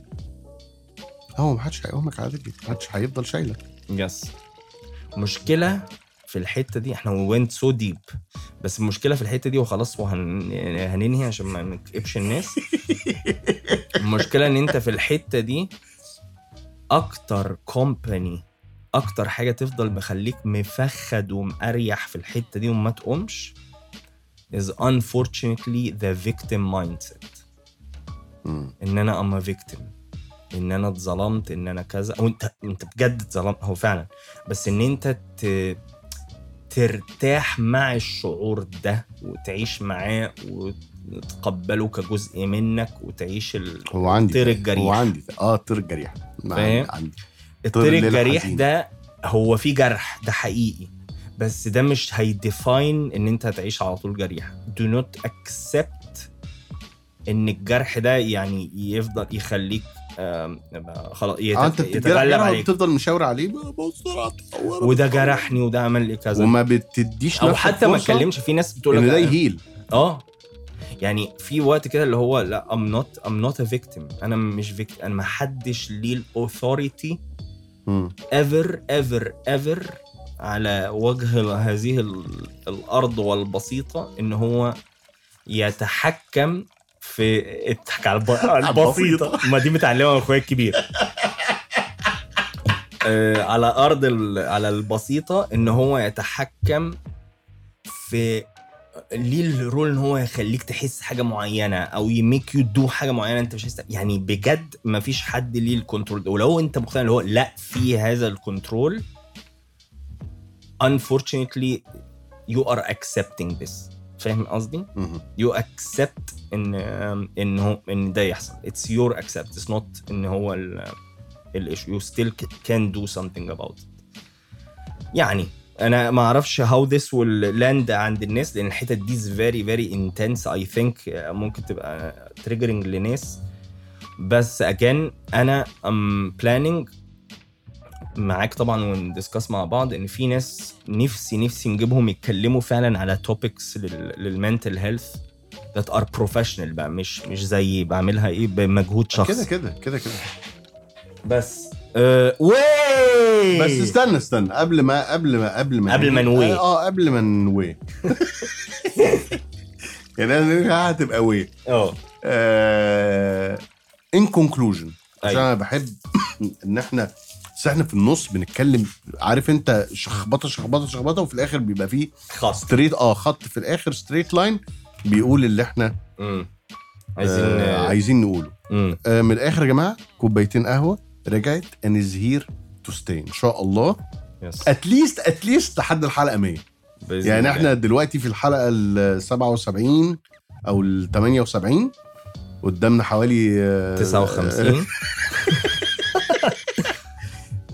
Speaker 1: هو محدش هيقومك على رجلك محدش هيفضل شايلك
Speaker 2: يس مشكله في الحته دي احنا وينت سو ديب بس المشكله في الحته دي وخلاص وهن يعني هننهي عشان ما نكئبش الناس المشكله ان انت في الحته دي اكتر كومباني اكتر حاجه تفضل مخليك مفخد ومقريح في الحته دي وما تقومش is unfortunately the victim mindset
Speaker 1: مم.
Speaker 2: ان انا ام فيكتيم ان انا اتظلمت ان انا كذا او انت انت بجد اتظلمت هو فعلا بس ان انت ت... ترتاح مع الشعور ده وتعيش معاه وتقبله كجزء منك وتعيش ال...
Speaker 1: هو عندي
Speaker 2: طير
Speaker 1: ده.
Speaker 2: الجريح.
Speaker 1: هو عندي ده. اه طير الجريح ما عندي-
Speaker 2: فاهم؟
Speaker 1: عندي
Speaker 2: الطير
Speaker 1: الليل
Speaker 2: الجريح
Speaker 1: الحزين.
Speaker 2: ده هو فيه جرح ده حقيقي بس ده مش هيديفاين ان انت هتعيش على طول جريح do not accept ان الجرح ده يعني يفضل يخليك آم، يبقى خلاص يت-
Speaker 1: اه انت
Speaker 2: يتغلب
Speaker 1: بتتجرح
Speaker 2: عليك
Speaker 1: بتفضل مشاور عليه بص اتطور
Speaker 2: وده جرحني وده عمل لي كذا
Speaker 1: وما بتديش
Speaker 2: او
Speaker 1: نفسك
Speaker 2: حتى ما
Speaker 1: فرصة
Speaker 2: اتكلمش في ناس بتقول
Speaker 1: ان
Speaker 2: لك
Speaker 1: ده يهيل
Speaker 2: اه يعني في وقت كده اللي هو لا ام نوت ام نوت ا فيكتيم انا مش فيكتيم انا ما حدش ليه الاوثوريتي
Speaker 1: مم.
Speaker 2: ايفر ايفر ايفر على وجه ال- هذه ال- الارض والبسيطه ان هو يتحكم في اضحك على الب- على البسيطه ما دي متعلمه من اخويا الكبير آه، على ارض ال- على البسيطه ان هو يتحكم في ليه الرول ان هو يخليك تحس حاجه معينه او يميك يو دو حاجه معينه انت مش حاسس يعني بجد مفيش حد ليه الكنترول ده ولو انت مقتنع اللي هو لا في هذا الكنترول unfortunately you are accepting this فاهم قصدي؟
Speaker 1: مم.
Speaker 2: you accept ان ان هو ان ده يحصل it's your accept it's not ان هو ال الايشو you still can do something about it يعني انا ما اعرفش how this will land عند الناس لان الحتت دي is very very intense I think آه، ممكن تبقى triggering لناس بس again انا am planning معاك طبعا وندسكاس مع بعض ان في ناس نفسي نفسي نجيبهم يتكلموا فعلا على توبكس للمنتل هيلث that are professional بقى مش مش زي بعملها ايه بمجهود
Speaker 1: كده
Speaker 2: شخصي
Speaker 1: كده كده كده
Speaker 2: بس
Speaker 1: آه،
Speaker 2: أه واي
Speaker 1: بس استنى استنى قبل ما قبل ما قبل ما
Speaker 2: إيه؟ قبل ما نوي.
Speaker 1: اه قبل ما نوي يعني انا هتبقى وي آه،
Speaker 2: اه
Speaker 1: ان كونكلوجن عشان
Speaker 2: أيوة.
Speaker 1: انا بحب ان احنا بس احنا في النص بنتكلم عارف انت شخبطه شخبطه شخبطه وفي الاخر بيبقى فيه
Speaker 2: خاص
Speaker 1: ستريت اه خط في الاخر ستريت لاين بيقول اللي احنا
Speaker 2: مم. عايزين
Speaker 1: آه عايزين نقوله
Speaker 2: مم.
Speaker 1: آه، من الاخر يا جماعه كوبايتين قهوه رجعت ان هير تو ستي ان شاء الله
Speaker 2: يس.
Speaker 1: اتليست اتليست لحد الحلقه 100
Speaker 2: بإذن
Speaker 1: يعني
Speaker 2: الله.
Speaker 1: احنا دلوقتي في الحلقه ال 77 او ال 78 قدامنا حوالي آه،
Speaker 2: 59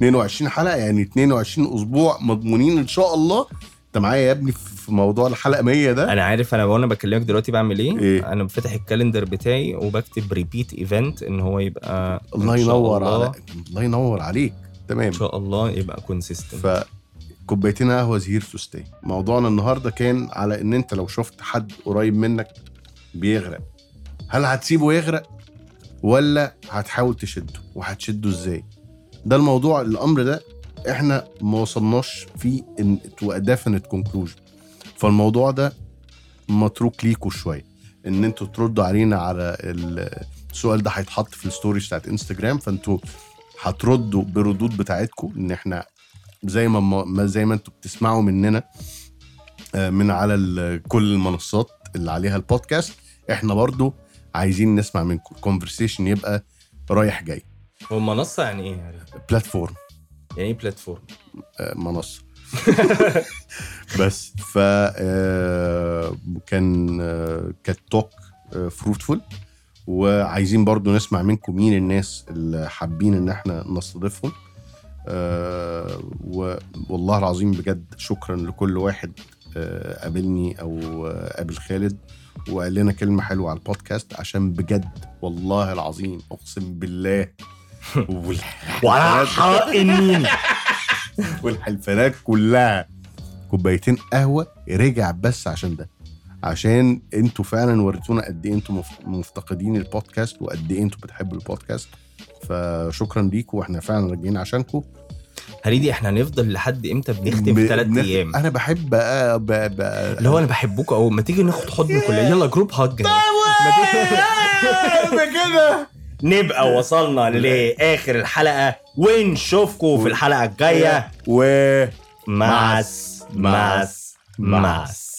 Speaker 1: 22 حلقه يعني 22 اسبوع مضمونين ان شاء الله انت معايا يا ابني في في موضوع الحلقه 100 ده
Speaker 2: انا عارف انا وانا بكلمك دلوقتي بعمل ايه,
Speaker 1: إيه؟
Speaker 2: انا بفتح الكالندر بتاعي وبكتب ريبيت ايفنت ان هو يبقى
Speaker 1: الله
Speaker 2: إن شاء
Speaker 1: ينور
Speaker 2: الله-
Speaker 1: على الله ينور عليك تمام
Speaker 2: ان شاء الله يبقى كونسيستنت
Speaker 1: ف كوبايتين قهوه زهير تو ستي موضوعنا النهارده كان على ان انت لو شفت حد قريب منك بيغرق هل هتسيبه يغرق ولا هتحاول تشده وهتشده ازاي ده الموضوع الامر ده احنا ما وصلناش فيه ان تو ديفينيت كونكلوجن فالموضوع ده متروك ليكوا شويه ان انتوا تردوا علينا على ال- السؤال ده هيتحط في الستوريز بتاعت انستجرام فانتوا هتردوا بردود بتاعتكم ان احنا زي ما- ما ما- زي ما انتوا بتسمعوا مننا آه، من على ال- كل المنصات اللي عليها البودكاست احنا برضو عايزين نسمع منكم الكونفرسيشن يبقى رايح جاي
Speaker 2: هو منصه يعني ايه يعني
Speaker 1: بلاتفورم
Speaker 2: ايه بلاتفورم
Speaker 1: آه، منصه بس ف آه، كان آه، كانت توك فروتفول وعايزين برضو نسمع منكم مين الناس اللي حابين ان احنا نستضيفهم آه، و- والله العظيم بجد شكرا لكل واحد آه، قابلني او آه، قابل خالد وقال لنا كلمه حلوه على البودكاست عشان بجد والله العظيم اقسم بالله
Speaker 2: وعلى
Speaker 1: والحلقات
Speaker 2: حق النيل
Speaker 1: والحلفانات كلها كوبايتين قهوه رجع بس عشان ده عشان انتوا فعلا وريتونا قد ايه انتوا مف- مفتقدين البودكاست وقد ايه انتوا بتحبوا البودكاست فشكرا ليكوا واحنا فعلا راجعين عشانكم
Speaker 2: هريدي احنا هنفضل لحد امتى بنختم في ثلاث ايام
Speaker 1: انا بحب بقى بقى بقى
Speaker 2: اللي هو انا بحبكوا قوي ما تيجي ناخد حضن كلنا يلا جروب هاج ما تيجي-
Speaker 1: كده
Speaker 2: نبقى وصلنا لاخر الحلقه ونشوفكم في الحلقه الجايه
Speaker 1: و
Speaker 2: ماس ماس ماس